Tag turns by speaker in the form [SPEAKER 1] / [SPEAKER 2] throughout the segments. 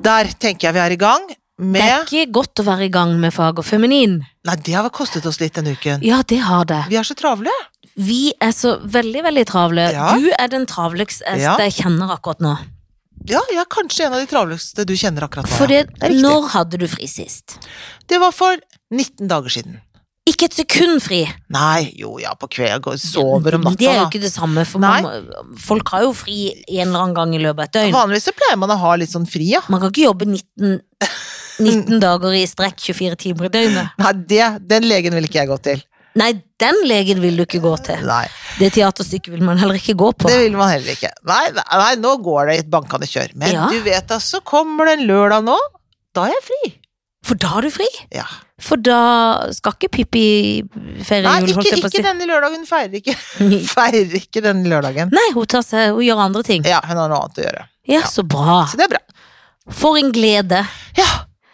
[SPEAKER 1] Der tenker jeg vi er i gang
[SPEAKER 2] Det er
[SPEAKER 1] med
[SPEAKER 2] ikke godt å være i gang med fag og feminin.
[SPEAKER 1] Nei, det har vel kostet oss litt denne uken.
[SPEAKER 2] Ja, det har det.
[SPEAKER 1] Vi er så travle.
[SPEAKER 2] Vi er så veldig, veldig travle.
[SPEAKER 1] Ja.
[SPEAKER 2] Du er den travligste
[SPEAKER 1] Ja.
[SPEAKER 2] jeg kjenner akkurat nå.
[SPEAKER 1] Ja, jeg er kanskje en av de travleste du kjenner akkurat nå.
[SPEAKER 2] For
[SPEAKER 1] ja. det er riktig.
[SPEAKER 2] når hadde du fri sist?
[SPEAKER 1] Det var for 19 dager siden.
[SPEAKER 2] Ikke et sekund fri!
[SPEAKER 1] Nei, jo ja, på kveld jeg går- sover om
[SPEAKER 2] Det er jo
[SPEAKER 1] natta, da.
[SPEAKER 2] ikke det samme, for
[SPEAKER 1] Nei.
[SPEAKER 2] man, må- folk har jo fri en eller annen gang i løpet av et døgn.
[SPEAKER 1] Vanligvis så pleier man å ha litt sånn fri, ja.
[SPEAKER 2] Man kan ikke jobbe 19, 19 dager i strekk 24 timer i døgnet.
[SPEAKER 1] Nei, det, den legen vil ikke jeg gå til.
[SPEAKER 2] Nei, den legen vil du ikke gå til.
[SPEAKER 1] Nei,
[SPEAKER 2] Det teaterstykket vil man heller ikke gå på.
[SPEAKER 1] det vil man heller ikke. Nei, nei, nei nå går det i et bankende kjør. Men
[SPEAKER 2] Ja.
[SPEAKER 1] du vet da, så kommer det en lørdag nå. Da er jeg fri.
[SPEAKER 2] For da har du fri!
[SPEAKER 1] Ja.
[SPEAKER 2] For da skal ikke Pippi i
[SPEAKER 1] Nei,
[SPEAKER 2] feriejul,
[SPEAKER 1] ikke,
[SPEAKER 2] holdt jeg på å
[SPEAKER 1] ikke
[SPEAKER 2] si.
[SPEAKER 1] denne lørdagen. Hun feirer ikke, feirer ikke denne lørdagen.
[SPEAKER 2] Nei, hun, tar seg, hun gjør andre ting.
[SPEAKER 1] Ja, hun har noe annet å gjøre.
[SPEAKER 2] Ja, så bra.
[SPEAKER 1] Så det er bra.
[SPEAKER 2] For en glede.
[SPEAKER 1] Ja,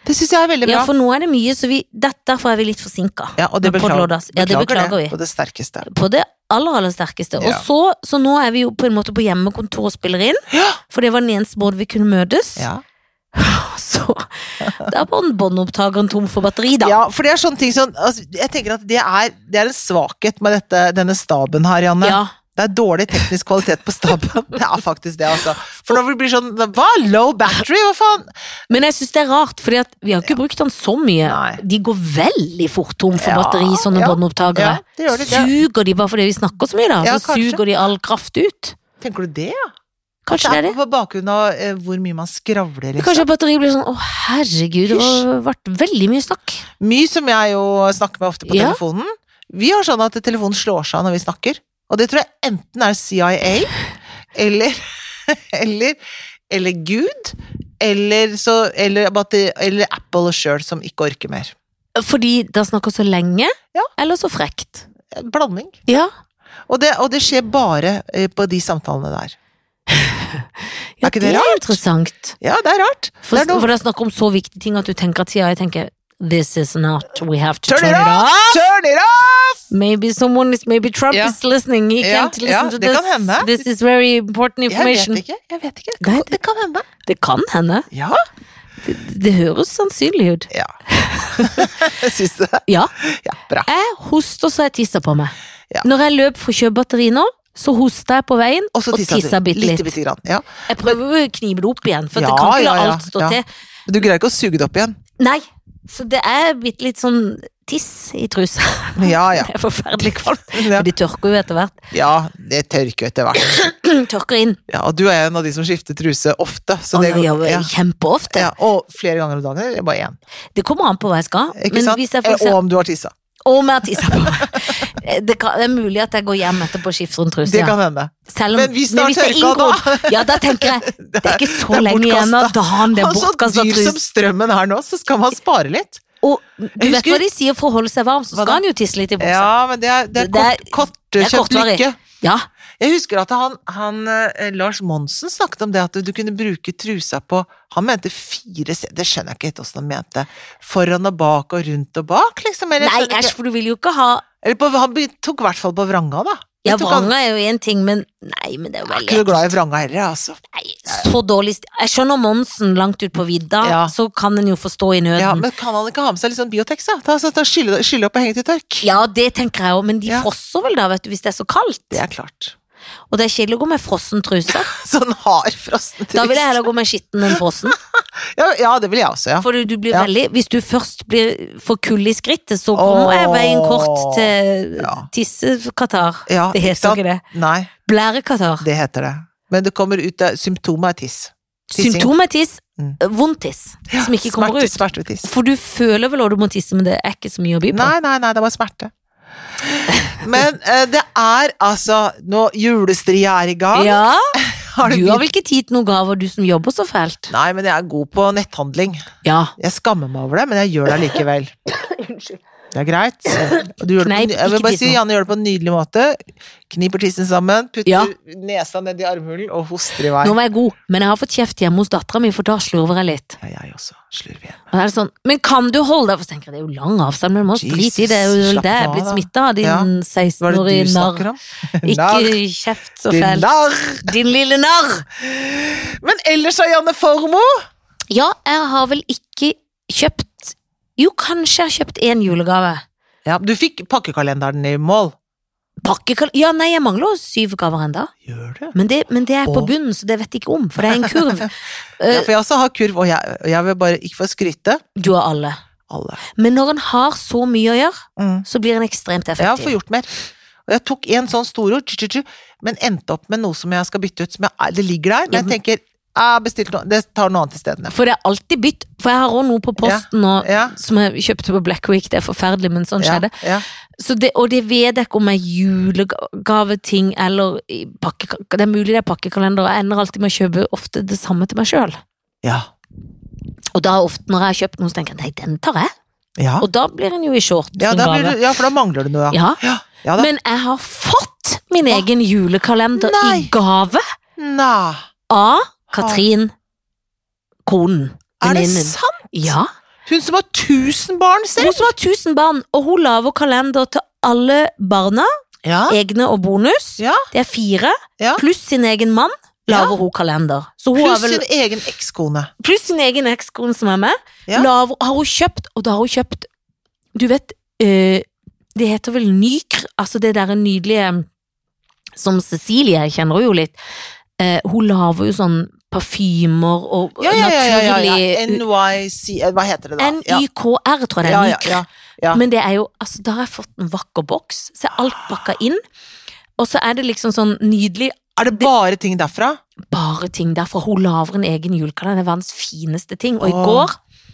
[SPEAKER 1] det syns jeg er veldig bra.
[SPEAKER 2] Ja, for nå er det mye, så vi, det, derfor er vi litt forsinka.
[SPEAKER 1] Ja, og det
[SPEAKER 2] På
[SPEAKER 1] beklager,
[SPEAKER 2] lørdags. Ja, det beklager vi.
[SPEAKER 1] på det sterkeste.
[SPEAKER 2] På det aller, aller sterkeste. Og
[SPEAKER 1] Ja.
[SPEAKER 2] så, så nå er vi jo på en måte på hjemmekontor og spiller inn,
[SPEAKER 1] Ja.
[SPEAKER 2] for det var den eneste måten vi kunne møtes.
[SPEAKER 1] Ja.
[SPEAKER 2] Så da var den båndopptakeren tom for batteri, da.
[SPEAKER 1] ja, for det er sånne ting som altså, Jeg tenker at det er, det er en svakhet med dette, denne staben her, Janne.
[SPEAKER 2] Ja.
[SPEAKER 1] Det er dårlig teknisk kvalitet på staben. Det er faktisk det, altså. For når det blir sånn Hva? Low battery? Hva faen?
[SPEAKER 2] Men jeg syns det er rart, for vi har ikke brukt den så mye.
[SPEAKER 1] Nei.
[SPEAKER 2] De går veldig fort tom for
[SPEAKER 1] Ja,
[SPEAKER 2] batteri, sånne
[SPEAKER 1] ja,
[SPEAKER 2] båndopptakere.
[SPEAKER 1] ja, det gjør de, det.
[SPEAKER 2] Suger de bare fordi vi snakker så mye, da?
[SPEAKER 1] Ja,
[SPEAKER 2] så
[SPEAKER 1] kanskje.
[SPEAKER 2] suger de all kraft ut?
[SPEAKER 1] Tenker du det, ja?
[SPEAKER 2] Kanskje det er det.
[SPEAKER 1] På bakgrunn av eh, hvor mye man skravler,
[SPEAKER 2] Men
[SPEAKER 1] liksom.
[SPEAKER 2] Kanskje batteriet blir sånn Å, herregud, det har vært veldig mye snakk.
[SPEAKER 1] My, som jeg jo snakker med ofte på
[SPEAKER 2] Ja.
[SPEAKER 1] telefonen, vi har sånn at telefonen slår seg av når vi snakker. Og det tror jeg enten er CIA, eller eller, eller Gud, eller, så, eller, at det- eller Apple sjøl som ikke orker mer.
[SPEAKER 2] Fordi det snakker så lenge,
[SPEAKER 1] Ja.
[SPEAKER 2] eller så frekt.
[SPEAKER 1] En Blanding.
[SPEAKER 2] Ja.
[SPEAKER 1] Og det, og det skjer bare eh, på de samtalene der.
[SPEAKER 2] ja
[SPEAKER 1] Er ikke det
[SPEAKER 2] det er
[SPEAKER 1] rart?
[SPEAKER 2] interessant.
[SPEAKER 1] Ja, det er rart.
[SPEAKER 2] For
[SPEAKER 1] det er noe-
[SPEAKER 2] for det er snakk om så viktige ting at du tenker at tida jeg tenker This is not We have to
[SPEAKER 1] Turn it
[SPEAKER 2] off.
[SPEAKER 1] off! Turn it off!
[SPEAKER 2] Maybe someone is Maybe Trump
[SPEAKER 1] Ja.
[SPEAKER 2] is listening. He
[SPEAKER 1] Ja,
[SPEAKER 2] can't listen
[SPEAKER 1] ja,
[SPEAKER 2] to
[SPEAKER 1] det
[SPEAKER 2] this.
[SPEAKER 1] kan hende.
[SPEAKER 2] This is very important
[SPEAKER 1] Jeg vet
[SPEAKER 2] information.
[SPEAKER 1] ikke. jeg vet ikke. Det
[SPEAKER 2] Nei,
[SPEAKER 1] kan,
[SPEAKER 2] det-
[SPEAKER 1] det kan hende.
[SPEAKER 2] Det kan hende.
[SPEAKER 1] Ja.
[SPEAKER 2] Det høres sannsynlig ut.
[SPEAKER 1] ja. Syns du det?
[SPEAKER 2] Ja.
[SPEAKER 1] Ja, bra.
[SPEAKER 2] Jeg hoster så jeg tisser på meg.
[SPEAKER 1] Ja.
[SPEAKER 2] Når jeg løp for å kjøpe batteri nå, så hosta jeg på veien
[SPEAKER 1] Og så
[SPEAKER 2] og
[SPEAKER 1] tissa
[SPEAKER 2] tissa
[SPEAKER 1] du.
[SPEAKER 2] bitte litt.
[SPEAKER 1] Lite bitte grann. Ja.
[SPEAKER 2] Jeg prøver jo å knive det opp igjen, for
[SPEAKER 1] Ja,
[SPEAKER 2] det kan ikke la
[SPEAKER 1] ja, ja,
[SPEAKER 2] alt stå
[SPEAKER 1] ja.
[SPEAKER 2] til.
[SPEAKER 1] Men du greier ikke å suge det opp igjen.
[SPEAKER 2] Nei, så det er blitt litt sånn tiss i trusa.
[SPEAKER 1] Ja, ja.
[SPEAKER 2] Det er forferdelig kvalmt.
[SPEAKER 1] Ja,
[SPEAKER 2] Men de tørker jo etter hvert.
[SPEAKER 1] ja det tørker jo etter hvert.
[SPEAKER 2] tørker inn.
[SPEAKER 1] Ja, og du er en av de som skifter truse ofte. Så
[SPEAKER 2] Og
[SPEAKER 1] det
[SPEAKER 2] jeg
[SPEAKER 1] går,
[SPEAKER 2] gjør
[SPEAKER 1] ja.
[SPEAKER 2] kjempeofte.
[SPEAKER 1] Ja, og flere ganger om dagen, eller bare én?
[SPEAKER 2] Det kommer an på hva jeg skal.
[SPEAKER 1] Ikke
[SPEAKER 2] Men
[SPEAKER 1] sant?
[SPEAKER 2] hvis jeg for
[SPEAKER 1] Eller,
[SPEAKER 2] eksempel
[SPEAKER 1] og om du har tissa.
[SPEAKER 2] Om jeg har tissa på meg. Det, kan, det er mulig at jeg går hjem etterpå og skifter en truse.
[SPEAKER 1] Det
[SPEAKER 2] ja.
[SPEAKER 1] kan hende.
[SPEAKER 2] Selv om,
[SPEAKER 1] Men hvis det har tørka,
[SPEAKER 2] jeg
[SPEAKER 1] da?
[SPEAKER 2] inngår- Ja, da tenker jeg det er ikke
[SPEAKER 1] det
[SPEAKER 2] så
[SPEAKER 1] er
[SPEAKER 2] lenge igjen av
[SPEAKER 1] bortkastet.
[SPEAKER 2] dagen. Det er
[SPEAKER 1] Og så
[SPEAKER 2] bortkasta
[SPEAKER 1] Altså, dyr som
[SPEAKER 2] truse.
[SPEAKER 1] strømmen er nå, så skal man spare litt.
[SPEAKER 2] Og du vet
[SPEAKER 1] husker-
[SPEAKER 2] hva de sier for å holde seg varm, så
[SPEAKER 1] Hva
[SPEAKER 2] skal
[SPEAKER 1] da?
[SPEAKER 2] han jo tisse litt i buksa.
[SPEAKER 1] Ja, men det er, det er,
[SPEAKER 2] Det er-
[SPEAKER 1] kort,
[SPEAKER 2] det er
[SPEAKER 1] kortkjøpt
[SPEAKER 2] kortvarig.
[SPEAKER 1] lykke.
[SPEAKER 2] Ja.
[SPEAKER 1] Jeg husker at han, han eh, Lars Monsen snakket om det at du kunne bruke trusa på Han mente fire se- Det skjønner jeg ikke helt åssen han mente. Foran og bak og rundt og bak, liksom. Eller,
[SPEAKER 2] Nei,
[SPEAKER 1] skjønner ikke-
[SPEAKER 2] æsj, for du vil jo ikke ha
[SPEAKER 1] eller på, han be- tok i hvert fall på vranga, da. Det
[SPEAKER 2] Ja,
[SPEAKER 1] tok han-
[SPEAKER 2] vranga er jo én ting, men Nei, men det
[SPEAKER 1] Jeg
[SPEAKER 2] er jo
[SPEAKER 1] er
[SPEAKER 2] veldig
[SPEAKER 1] ikke noe glad i vranga heller, altså.
[SPEAKER 2] Nei, så dårlig sti- Jeg skjønner Monsen langt ut på vidda,
[SPEAKER 1] Ja.
[SPEAKER 2] så kan en jo forstå i nøden.
[SPEAKER 1] Ja,
[SPEAKER 2] Ja,
[SPEAKER 1] men kan han ikke ha med seg litt sånn Biotex, da? Ta, så, ta, skylle, skylle opp og henge til tørk.
[SPEAKER 2] det tenker jeg òg, men de
[SPEAKER 1] Ja.
[SPEAKER 2] frosser vel da, vet du, hvis det er så kaldt.
[SPEAKER 1] Det er klart.
[SPEAKER 2] Og det er kjedelig å gå med frossen truse.
[SPEAKER 1] Sånn hard frossen
[SPEAKER 2] Da vil jeg
[SPEAKER 1] trus.
[SPEAKER 2] heller gå med skitten enn frossen.
[SPEAKER 1] Ja, ja, det vil jeg også, ja.
[SPEAKER 2] For du, du blir
[SPEAKER 1] Ja.
[SPEAKER 2] veldig Hvis du først blir for kull i skrittet, så kommer jeg veien kort til
[SPEAKER 1] Ja.
[SPEAKER 2] tissekatar.
[SPEAKER 1] Ja,
[SPEAKER 2] det
[SPEAKER 1] ikke
[SPEAKER 2] heter
[SPEAKER 1] sant?
[SPEAKER 2] jo ikke det.
[SPEAKER 1] Nei,
[SPEAKER 2] Blærekatar.
[SPEAKER 1] det heter det. Men det kommer ut eh, av symptomet er tiss. tissing.
[SPEAKER 2] Symptom er tiss,
[SPEAKER 1] Mm.
[SPEAKER 2] vond tiss, som ikke kommer
[SPEAKER 1] Smerte-
[SPEAKER 2] ut.
[SPEAKER 1] Smerte ved tiss.
[SPEAKER 2] For du føler vel at du må tisse, men det er ikke så mye å by på.
[SPEAKER 1] Nei, nei, nei, det var smerte. Men eh, det er altså Nå julestria er i gang.
[SPEAKER 2] Ja,
[SPEAKER 1] Har
[SPEAKER 2] du
[SPEAKER 1] du
[SPEAKER 2] har
[SPEAKER 1] begynt?
[SPEAKER 2] vel ikke tid til noen gaver, du som jobber så fælt?
[SPEAKER 1] Nei, men jeg er god på netthandling.
[SPEAKER 2] Ja.
[SPEAKER 1] Jeg skammer meg over det, men jeg gjør det likevel. Det er greit. Og du gjør det
[SPEAKER 2] Kneip,
[SPEAKER 1] på, jeg
[SPEAKER 2] ikke
[SPEAKER 1] vil bare
[SPEAKER 2] tissen.
[SPEAKER 1] si Janne gjør det på en nydelig måte. Kniper tissen sammen, putter
[SPEAKER 2] Ja.
[SPEAKER 1] nesa ned i armhulen og hoster i vei.
[SPEAKER 2] Nå var jeg god, men jeg har fått kjeft hjemme hos dattera mi, for da slurver jeg litt.
[SPEAKER 1] Ja, jeg også. Slurv igjen.
[SPEAKER 2] Og da er det sånn, men kan du holde deg? For så tenker jeg, det er jo lang avstand, men du må
[SPEAKER 1] Jesus,
[SPEAKER 2] drite i det. Det er jo
[SPEAKER 1] slapp
[SPEAKER 2] det jeg
[SPEAKER 1] av,
[SPEAKER 2] er blitt
[SPEAKER 1] da.
[SPEAKER 2] smitta av, din
[SPEAKER 1] Ja. Hva er det
[SPEAKER 2] 16-årige
[SPEAKER 1] du
[SPEAKER 2] narr.
[SPEAKER 1] snakker om? Narr.
[SPEAKER 2] Ikke kjeft så
[SPEAKER 1] Din
[SPEAKER 2] fælt.
[SPEAKER 1] narr!
[SPEAKER 2] Din lille narr!
[SPEAKER 1] Men ellers er Janne Formoe
[SPEAKER 2] Ja, jeg har vel ikke kjøpt Jo, kanskje jeg har kjøpt én julegave.
[SPEAKER 1] Ja, du fikk pakkekalenderen i mål.
[SPEAKER 2] Pakkekal... Ja, nei, jeg mangler jo syv gaver ennå.
[SPEAKER 1] Gjør du?
[SPEAKER 2] Men, det- men det er på
[SPEAKER 1] Åh.
[SPEAKER 2] bunnen, så det vet jeg ikke om, for det er en kurv. Eh,
[SPEAKER 1] Ja, for jeg også har kurv, og jeg, og jeg vil bare ikke få skryte.
[SPEAKER 2] Du har alle.
[SPEAKER 1] Alle.
[SPEAKER 2] Men når en har så mye å gjøre,
[SPEAKER 1] Mm.
[SPEAKER 2] så blir en ekstremt
[SPEAKER 1] Jeg har fått
[SPEAKER 2] effektiv.
[SPEAKER 1] gjort mer. Og jeg tok en sånn storord, tju, tju, tju, men endte opp med noe som jeg skal bytte ut. Som jeg, det ligger der, men jeg tenker ah, bestilt noe, det tar noe annet isteden. ja.
[SPEAKER 2] For det er alltid bytt. For jeg har òg noe på posten nå
[SPEAKER 1] Ja.
[SPEAKER 2] som jeg kjøpte på Black Week. Det er forferdelig, men sånn skjedde.
[SPEAKER 1] Ja, ja.
[SPEAKER 2] Så det, og det vet jeg ikke om er julegaveting eller i pakke, Det er mulig det er pakkekalender, og jeg ender alltid med å kjøpe ofte det samme til meg sjøl.
[SPEAKER 1] ja.
[SPEAKER 2] Og da ofte når jeg har kjøpt noe, så tenker jeg nei, den tar jeg.
[SPEAKER 1] Ja.
[SPEAKER 2] Og da blir en jo i shorts
[SPEAKER 1] Ja,
[SPEAKER 2] som
[SPEAKER 1] da
[SPEAKER 2] gave.
[SPEAKER 1] blir du, ja, for da mangler du noe, ja.
[SPEAKER 2] Ja.
[SPEAKER 1] Ja, ja da.
[SPEAKER 2] Men jeg har fått min egen julekalender i
[SPEAKER 1] Nei.
[SPEAKER 2] gave
[SPEAKER 1] Nei,
[SPEAKER 2] av Katrin, konen.
[SPEAKER 1] er det
[SPEAKER 2] venninnen.
[SPEAKER 1] sant?
[SPEAKER 2] Ja.
[SPEAKER 1] Hun som har tusen barn selv?
[SPEAKER 2] Hun som har 1000 barn, og hun lager kalender til alle barna,
[SPEAKER 1] Ja.
[SPEAKER 2] egne og bonus.
[SPEAKER 1] Ja.
[SPEAKER 2] Det er fire,
[SPEAKER 1] Ja.
[SPEAKER 2] pluss sin egen mann. Lager hun kalender. Så hun
[SPEAKER 1] Pluss
[SPEAKER 2] har vel,
[SPEAKER 1] sin egen ekskone.
[SPEAKER 2] pluss sin egen ekskone som er med.
[SPEAKER 1] Ja.
[SPEAKER 2] Laver, har hun kjøpt, og da har hun kjøpt Du vet, eh, det heter vel nykr, altså det derre nydelige Som Cecilie jeg kjenner jo litt. Eh, hun lager jo sånn parfymer og
[SPEAKER 1] Ja, ja, ja. ja, ja, ja.
[SPEAKER 2] naturlig
[SPEAKER 1] NYC eh, Hva heter det da? Ja.
[SPEAKER 2] NYKR, tror jeg det
[SPEAKER 1] Ja,
[SPEAKER 2] er.
[SPEAKER 1] ja,
[SPEAKER 2] Nykr.
[SPEAKER 1] ja. Ja.
[SPEAKER 2] Men det er jo, altså da har jeg fått en vakker boks, så er alt pakka inn. Og så er det liksom sånn nydelig,
[SPEAKER 1] Er det bare ting derfra?
[SPEAKER 2] bare ting derfra. Hun lager en egen julekalender, det er verdens fineste ting. Og i
[SPEAKER 1] Åh.
[SPEAKER 2] går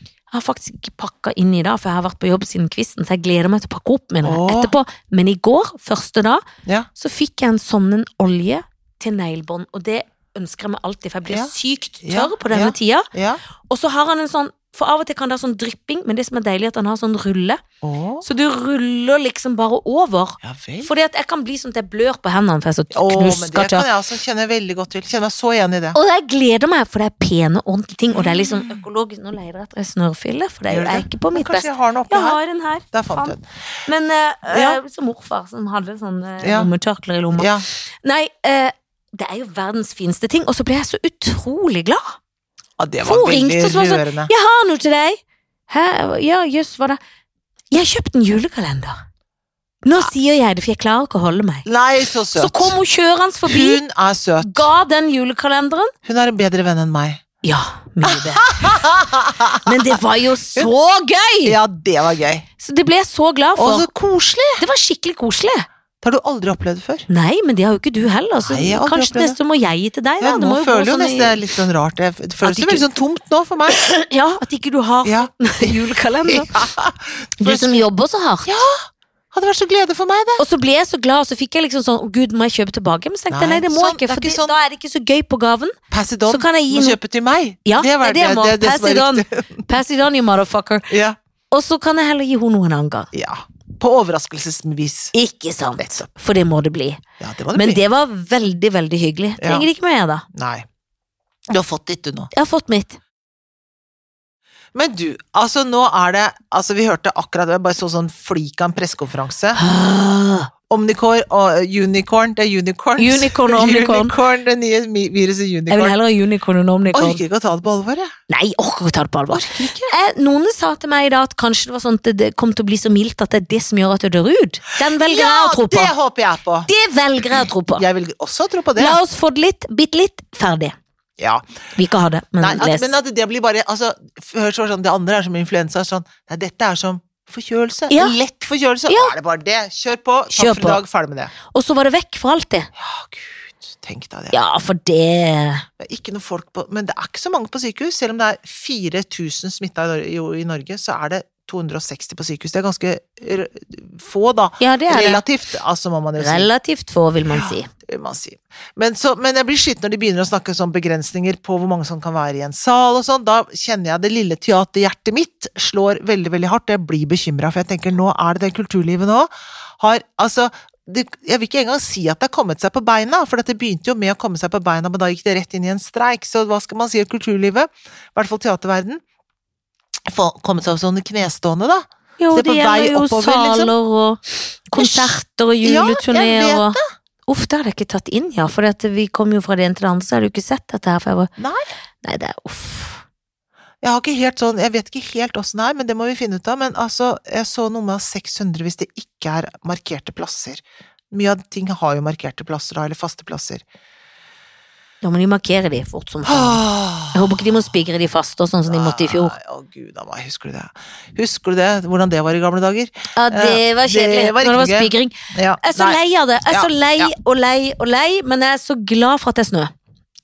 [SPEAKER 2] jeg har faktisk ikke pakka inn i dag, for jeg har vært på jobb siden kvisten, så jeg gleder meg til å pakke opp mine
[SPEAKER 1] Åh.
[SPEAKER 2] etterpå. Men i går, første dag,
[SPEAKER 1] Ja.
[SPEAKER 2] så fikk jeg en sånn en olje til neglebånd, og det ønsker jeg meg alltid, for jeg blir
[SPEAKER 1] Ja.
[SPEAKER 2] sykt
[SPEAKER 1] Ja.
[SPEAKER 2] tørr på denne
[SPEAKER 1] Ja.
[SPEAKER 2] tida.
[SPEAKER 1] Ja.
[SPEAKER 2] Og så har han en sånn, for av og til kan det ha sånn drypping, men det som er deilig, er at han har sånn rulle.
[SPEAKER 1] Åh.
[SPEAKER 2] Så du ruller liksom bare over.
[SPEAKER 1] Ja vel.
[SPEAKER 2] Fordi at jeg kan bli sånn at jeg blør på hendene, for jeg er så
[SPEAKER 1] Åh, men
[SPEAKER 2] knuska
[SPEAKER 1] det kan
[SPEAKER 2] tørr.
[SPEAKER 1] jeg også kjenne veldig godt til. Kjenner meg så igjen i det.
[SPEAKER 2] Og jeg gleder meg, for det er pene, ordentlige ting. Og det er liksom økologisk. Nå leier jeg etter ei snørrfille, for det er jo
[SPEAKER 1] Gjør
[SPEAKER 2] jeg er
[SPEAKER 1] det?
[SPEAKER 2] ikke på
[SPEAKER 1] Men
[SPEAKER 2] mitt
[SPEAKER 1] Kanskje
[SPEAKER 2] beste.
[SPEAKER 1] jeg har den oppe
[SPEAKER 2] Jeg
[SPEAKER 1] her.
[SPEAKER 2] har den her.
[SPEAKER 1] Der fant du
[SPEAKER 2] Faen.
[SPEAKER 1] den.
[SPEAKER 2] Men eh,
[SPEAKER 1] Ja.
[SPEAKER 2] eh, som morfar, som hadde sånne eh,
[SPEAKER 1] Ja.
[SPEAKER 2] lommetørklær i lomma.
[SPEAKER 1] Ja.
[SPEAKER 2] Nei, eh, det er jo verdens fineste ting. Og så ble jeg så utrolig glad.
[SPEAKER 1] Ja, det
[SPEAKER 2] For
[SPEAKER 1] var
[SPEAKER 2] hun ringte,
[SPEAKER 1] veldig
[SPEAKER 2] så var det sånn,
[SPEAKER 1] rørende.
[SPEAKER 2] Jeg har noe til deg. Hæ? Ja, jøss, hva da? Jeg kjøpte en julekalender. Nå
[SPEAKER 1] Ah.
[SPEAKER 2] sier jeg det, for jeg klarer ikke å holde meg.
[SPEAKER 1] Nei, så søt.
[SPEAKER 2] Så kom hun kjørende forbi,
[SPEAKER 1] Hun er søt.
[SPEAKER 2] ga den julekalenderen.
[SPEAKER 1] Hun er en bedre venn enn meg.
[SPEAKER 2] Ja, mye bedre. Men det var jo så gøy!
[SPEAKER 1] Ja, det var gøy.
[SPEAKER 2] Så det ble jeg så
[SPEAKER 1] Og
[SPEAKER 2] glad for.
[SPEAKER 1] så koselig!
[SPEAKER 2] Det var skikkelig koselig.
[SPEAKER 1] Det har du aldri opplevd før.
[SPEAKER 2] Nei, men det har jo ikke du heller, så
[SPEAKER 1] Nei, jeg har aldri
[SPEAKER 2] kanskje
[SPEAKER 1] opplevd det.
[SPEAKER 2] neste må jeg gi til deg, da.
[SPEAKER 1] Jeg nå
[SPEAKER 2] Det må jo gå
[SPEAKER 1] føler jo
[SPEAKER 2] sånn i-
[SPEAKER 1] nesten det er litt sånn rart. Det føles
[SPEAKER 2] At
[SPEAKER 1] jo
[SPEAKER 2] ikke-
[SPEAKER 1] veldig sånn tomt nå for meg.
[SPEAKER 2] Ja, at ikke du har
[SPEAKER 1] Ja.
[SPEAKER 2] julekalender. Du
[SPEAKER 1] For-
[SPEAKER 2] som jobber så hardt.
[SPEAKER 1] Hadde vært så glede for meg, det.
[SPEAKER 2] Og så ble jeg så glad, og så fikk jeg liksom sånn Å gud, må jeg kjøpe tilbake? Men så tenkte jeg
[SPEAKER 1] Nei,
[SPEAKER 2] nei, det må
[SPEAKER 1] sånn,
[SPEAKER 2] jeg ikke,
[SPEAKER 1] det er
[SPEAKER 2] for
[SPEAKER 1] ikke
[SPEAKER 2] det-
[SPEAKER 1] sånn.
[SPEAKER 2] da er det ikke så gøy på gaven.
[SPEAKER 1] Pass it on.
[SPEAKER 2] Så kan jeg gi
[SPEAKER 1] Du må
[SPEAKER 2] noe
[SPEAKER 1] kjøpe til meg.
[SPEAKER 2] Ja,
[SPEAKER 1] det var
[SPEAKER 2] det er det jeg må.
[SPEAKER 1] det, det som
[SPEAKER 2] Pass
[SPEAKER 1] var
[SPEAKER 2] it on.
[SPEAKER 1] riktig.
[SPEAKER 2] Pass it on, you motherfucker.
[SPEAKER 1] Ja.
[SPEAKER 2] Og så kan jeg heller gi henne noe en annen gang.
[SPEAKER 1] ja. På overraskelsesvis.
[SPEAKER 2] Ikke sant.
[SPEAKER 1] Nettopp.
[SPEAKER 2] For det må det bli.
[SPEAKER 1] Ja, det må det
[SPEAKER 2] Men
[SPEAKER 1] bli.
[SPEAKER 2] det var veldig, veldig hyggelig.
[SPEAKER 1] Ja.
[SPEAKER 2] Trenger ikke mer, da.
[SPEAKER 1] Nei. Du har fått ditt, du nå.
[SPEAKER 2] Jeg har fått mitt.
[SPEAKER 1] Men du, altså nå er det Altså, vi hørte akkurat Jeg bare så sånn flik av en pressekonferanse.
[SPEAKER 2] Ah,
[SPEAKER 1] Omnicorn og eh, unicorn, det er unicorns.
[SPEAKER 2] Unicorn og omnicorn.
[SPEAKER 1] Unicorn, det nye mi- viruset
[SPEAKER 2] Jeg vil
[SPEAKER 1] unicorn.
[SPEAKER 2] heller ha unicorn enn omnicorn.
[SPEAKER 1] Orker ikke å ta det på alvor, jeg.
[SPEAKER 2] Nei, jeg orker ikke ta det på alvor.
[SPEAKER 1] Orker ikke.
[SPEAKER 2] Eh, Noen sa til meg i dag at kanskje det var sånn at det- det kom til å bli så mildt at det er det som gjør at du dør ut. Den velger
[SPEAKER 1] Ja,
[SPEAKER 2] jeg å tro
[SPEAKER 1] det
[SPEAKER 2] på.
[SPEAKER 1] håper jeg på.
[SPEAKER 2] Det velger jeg å tro på.
[SPEAKER 1] Jeg vil også tro på det.
[SPEAKER 2] La oss få det litt, bitte litt, ferdig.
[SPEAKER 1] Ja.
[SPEAKER 2] Vi ikke har det, men
[SPEAKER 1] Nei, at,
[SPEAKER 2] les.
[SPEAKER 1] men at det blir bare altså, før så var det sånn, Det andre er som influensa. Sånn, nei, dette er som forkjølelse.
[SPEAKER 2] Ja.
[SPEAKER 1] Lett forkjølelse.
[SPEAKER 2] Ja.
[SPEAKER 1] Er det bare det? Kjør på. Takk
[SPEAKER 2] Kjør
[SPEAKER 1] for
[SPEAKER 2] på.
[SPEAKER 1] i dag. Ferdig med det.
[SPEAKER 2] Og så var det vekk for alltid.
[SPEAKER 1] Ja, gud. Tenk deg det.
[SPEAKER 2] Ja, for det
[SPEAKER 1] Det er Ikke noe folk på, men det er ikke så mange på sykehus. Selv om det er 4000 smitta i, Nor- i Norge, så er det 260 på sykehus. Det er ganske r få, da.
[SPEAKER 2] Ja, det er det.
[SPEAKER 1] Relativt, altså, må man jo si.
[SPEAKER 2] Relativt få, vil man si.
[SPEAKER 1] vil eh, man si. Men, så, men jeg blir sliten når de begynner å snakke sånn begrensninger på hvor mange som kan være i en sal og sånn. Da kjenner jeg det lille teaterhjertet mitt slår veldig, veldig hardt. Jeg blir bekymra, for jeg tenker nå er det det kulturlivet nå har Altså, det, jeg vil ikke engang si at det har kommet seg på beina, for dette begynte jo med å komme seg på beina, men da gikk det rett inn i en streik. Så hva skal man si om kulturlivet? I hvert fall teaterverden. Få- Kommet seg opp sånn knestående, da.
[SPEAKER 2] Jo,
[SPEAKER 1] Se på
[SPEAKER 2] det
[SPEAKER 1] vei
[SPEAKER 2] gjelder jo
[SPEAKER 1] oppover, liksom.
[SPEAKER 2] saler og konserter og
[SPEAKER 1] Ja, jeg
[SPEAKER 2] juleturneer
[SPEAKER 1] vet
[SPEAKER 2] og Uff, det hadde jeg ikke tatt inn, ja. For vi kom jo fra det ene til det andre, så hadde du ikke sett dette her. For jeg var
[SPEAKER 1] Nei.
[SPEAKER 2] Nei, det er uff.
[SPEAKER 1] Jeg har ikke helt sånn, jeg vet ikke helt åssen det er, men det må vi finne ut av. Men altså, jeg så noe med 600 hvis det ikke er markerte plasser. Mye av ting har jo markerte plasser, da, eller faste plasser.
[SPEAKER 2] Da må de markere de fort som faen.
[SPEAKER 1] Ah.
[SPEAKER 2] Jeg håper ikke de må spigre de fast og sånn som de måtte i fjor.
[SPEAKER 1] Nei, Å gud a meg, husker du det? Husker du det, hvordan det var i gamle dager? Altså,
[SPEAKER 2] Ja, Ah, det
[SPEAKER 1] Ah,
[SPEAKER 2] var
[SPEAKER 1] det
[SPEAKER 2] kjedelig
[SPEAKER 1] var
[SPEAKER 2] når det var
[SPEAKER 1] ikke gøy.
[SPEAKER 2] spigring.
[SPEAKER 1] Ja,
[SPEAKER 2] Jeg er så
[SPEAKER 1] nei,
[SPEAKER 2] lei av det. Jeg er så
[SPEAKER 1] Ja,
[SPEAKER 2] lei
[SPEAKER 1] ja.
[SPEAKER 2] og lei og lei, men jeg er så glad for at det er snø.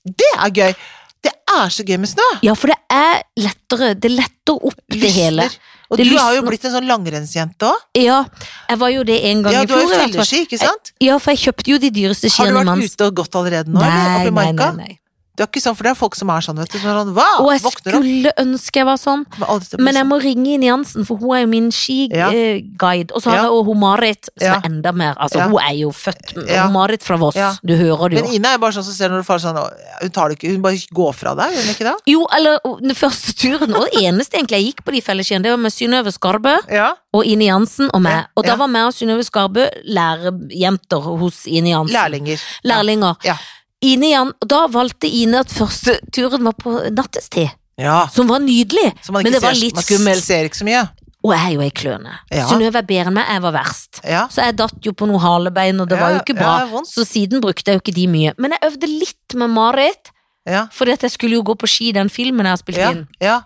[SPEAKER 1] Det er gøy! Det er så gøy med snø!
[SPEAKER 2] Ja, for det er lettere. Det letter opp det hele.
[SPEAKER 1] Lysner. Og
[SPEAKER 2] Det
[SPEAKER 1] du har jo
[SPEAKER 2] lysner.
[SPEAKER 1] blitt en sånn langrennsjente òg.
[SPEAKER 2] Ja, jeg var jo det en gang
[SPEAKER 1] Ja,
[SPEAKER 2] i
[SPEAKER 1] du har
[SPEAKER 2] fjor.
[SPEAKER 1] jo
[SPEAKER 2] i hvert fall.
[SPEAKER 1] felleski, ikke sant?
[SPEAKER 2] Ja, for jeg kjøpte jo de dyreste
[SPEAKER 1] Har du
[SPEAKER 2] skiene
[SPEAKER 1] vært
[SPEAKER 2] manns.
[SPEAKER 1] ute og gått allerede nå, eller? Oppe
[SPEAKER 2] Nei,
[SPEAKER 1] i
[SPEAKER 2] nei, nei,
[SPEAKER 1] marka?
[SPEAKER 2] nei.
[SPEAKER 1] Du er ikke sånn, for det er folk som er sånn, vet du. Som er sånn, hva?
[SPEAKER 2] Og jeg
[SPEAKER 1] Våkner opp
[SPEAKER 2] skulle ønske jeg var sånn,
[SPEAKER 1] med alle disse
[SPEAKER 2] men jeg må ringe inn Jansen, for hun er jo min
[SPEAKER 1] Ja.
[SPEAKER 2] skiguide. Og så har
[SPEAKER 1] Ja.
[SPEAKER 2] jeg jo hun Marit, som
[SPEAKER 1] Ja.
[SPEAKER 2] er enda mer Altså,
[SPEAKER 1] Ja.
[SPEAKER 2] hun er jo født med
[SPEAKER 1] Ja.
[SPEAKER 2] hun Marit fra Voss.
[SPEAKER 1] Ja.
[SPEAKER 2] Du hører det
[SPEAKER 1] Men
[SPEAKER 2] jo.
[SPEAKER 1] Ina er bare sånn som ser når du faller sånn «Å, Hun tar det ikke, hun bare går fra deg, gjør hun ikke det?
[SPEAKER 2] Jo, eller den første turen, og det eneste egentlig jeg gikk på de felleskiene, det var med Synnøve Skarbø.
[SPEAKER 1] Ja.
[SPEAKER 2] og Ine Jansen og meg.
[SPEAKER 1] Ja,
[SPEAKER 2] Og da
[SPEAKER 1] ja.
[SPEAKER 2] var meg og Synnøve Skarbø lærerjenter hos Ine Jansen.
[SPEAKER 1] Lærlinger.
[SPEAKER 2] Lærlinger.
[SPEAKER 1] Ja.
[SPEAKER 2] Ine Jan, og da valgte Ine at første turen var på nattestid,
[SPEAKER 1] Ja.
[SPEAKER 2] som var nydelig.
[SPEAKER 1] Så man
[SPEAKER 2] Men
[SPEAKER 1] ikke
[SPEAKER 2] det var
[SPEAKER 1] ser,
[SPEAKER 2] litt
[SPEAKER 1] man
[SPEAKER 2] skummelt.
[SPEAKER 1] ser ikke så mye.
[SPEAKER 2] Og jeg er jo ei kløne.
[SPEAKER 1] Ja.
[SPEAKER 2] Synnøve er bedre enn meg, jeg var verst.
[SPEAKER 1] Ja.
[SPEAKER 2] Så jeg datt jo på noen halebein, og det var jo
[SPEAKER 1] Ja,
[SPEAKER 2] ikke
[SPEAKER 1] ja,
[SPEAKER 2] bra.
[SPEAKER 1] det er vondt.
[SPEAKER 2] så siden brukte jeg jo ikke de mye. Men jeg øvde litt med Marit,
[SPEAKER 1] Ja.
[SPEAKER 2] fordi at jeg skulle jo gå på ski i den filmen jeg har spilt
[SPEAKER 1] Ja.
[SPEAKER 2] inn.
[SPEAKER 1] ja.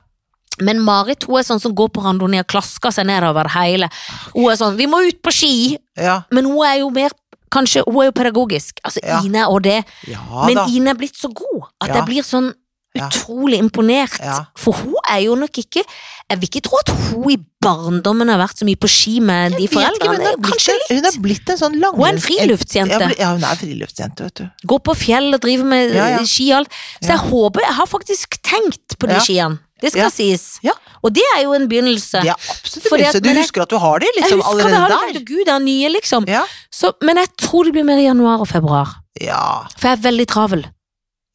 [SPEAKER 2] Men Marit hun er sånn som går på randonee og klasker seg nedover hele. Hun er sånn 'vi må ut på ski',
[SPEAKER 1] Ja.
[SPEAKER 2] Men hun er jo mer Kanskje hun er jo pedagogisk. Altså
[SPEAKER 1] Ja.
[SPEAKER 2] Ine og det.
[SPEAKER 1] Ja
[SPEAKER 2] men
[SPEAKER 1] da.
[SPEAKER 2] Ine er blitt så god at
[SPEAKER 1] Ja.
[SPEAKER 2] jeg blir sånn
[SPEAKER 1] Ja.
[SPEAKER 2] utrolig imponert.
[SPEAKER 1] Ja.
[SPEAKER 2] For hun er jo nok ikke Jeg vil ikke tro at hun i barndommen har vært så mye på ski med de
[SPEAKER 1] Jeg vet ikke, men
[SPEAKER 2] foreldrene.
[SPEAKER 1] hun er blitt
[SPEAKER 2] Kanskje
[SPEAKER 1] en-
[SPEAKER 2] litt.
[SPEAKER 1] Hun er blitt en sånn
[SPEAKER 2] Hun er en
[SPEAKER 1] langrenns... Ja,
[SPEAKER 2] friluftsjente.
[SPEAKER 1] bli- Ja, hun er friluftsjente, vet du.
[SPEAKER 2] Går på fjell og driver med
[SPEAKER 1] Ja, ja.
[SPEAKER 2] eh, ski og alt. Så jeg håper Jeg har faktisk tenkt på de
[SPEAKER 1] Ja.
[SPEAKER 2] skiene. Det skal
[SPEAKER 1] Ja.
[SPEAKER 2] sies.
[SPEAKER 1] Ja.
[SPEAKER 2] Og det er jo en begynnelse.
[SPEAKER 1] Det er absolutt
[SPEAKER 2] Fordi at-
[SPEAKER 1] begynnelse. Du
[SPEAKER 2] men jeg-
[SPEAKER 1] husker at du har det,
[SPEAKER 2] jeg
[SPEAKER 1] liksom,
[SPEAKER 2] husker vi
[SPEAKER 1] allerede
[SPEAKER 2] har
[SPEAKER 1] der?
[SPEAKER 2] det. Gud, det er nye, liksom.
[SPEAKER 1] Ja.
[SPEAKER 2] Så, men jeg tror det blir mer i januar og februar.
[SPEAKER 1] Ja.
[SPEAKER 2] For jeg er veldig travel.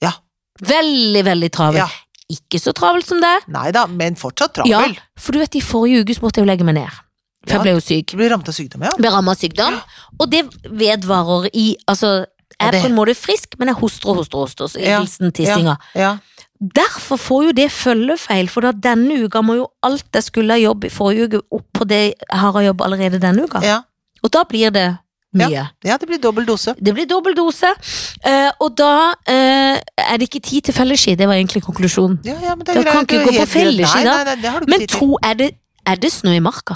[SPEAKER 1] Ja.
[SPEAKER 2] Veldig, veldig travel.
[SPEAKER 1] ja.
[SPEAKER 2] Ikke så travel som det.
[SPEAKER 1] Nei da, men fortsatt
[SPEAKER 2] Ja,
[SPEAKER 1] travel.
[SPEAKER 2] for du vet, i forrige uke så måtte jeg jo legge meg ned. For
[SPEAKER 1] Ja.
[SPEAKER 2] jeg ble jo syk.
[SPEAKER 1] Du blir rammet av sykdom, ja.
[SPEAKER 2] Ble rammet av sykdom. Og det vedvarer i Altså, jeg
[SPEAKER 1] Ja, det-
[SPEAKER 2] er på en måte frisk, men jeg hoster og hoster og hoster. Så
[SPEAKER 1] Ja,
[SPEAKER 2] hilsen tissinga.
[SPEAKER 1] ja.
[SPEAKER 2] Derfor får jo det følgefeil, for da denne uka må jo alt jeg skulle ha jobb i forrige uke, opp på det jeg har av jobb allerede denne uka.
[SPEAKER 1] Ja.
[SPEAKER 2] Og da blir det mye.
[SPEAKER 1] ja, det blir dobbel dose.
[SPEAKER 2] Det blir dobbel dose, eh, og da eh, er det ikke tid til felleski. Det var egentlig konklusjonen.
[SPEAKER 1] Ja, ja, men det
[SPEAKER 2] Da
[SPEAKER 1] er greit.
[SPEAKER 2] kan ikke
[SPEAKER 1] Det er
[SPEAKER 2] gå på
[SPEAKER 1] helt greit. Nei,
[SPEAKER 2] felleski, da.
[SPEAKER 1] nei, nei, det har du ikke
[SPEAKER 2] Men
[SPEAKER 1] tid til.
[SPEAKER 2] tro, er det, er det snø i marka?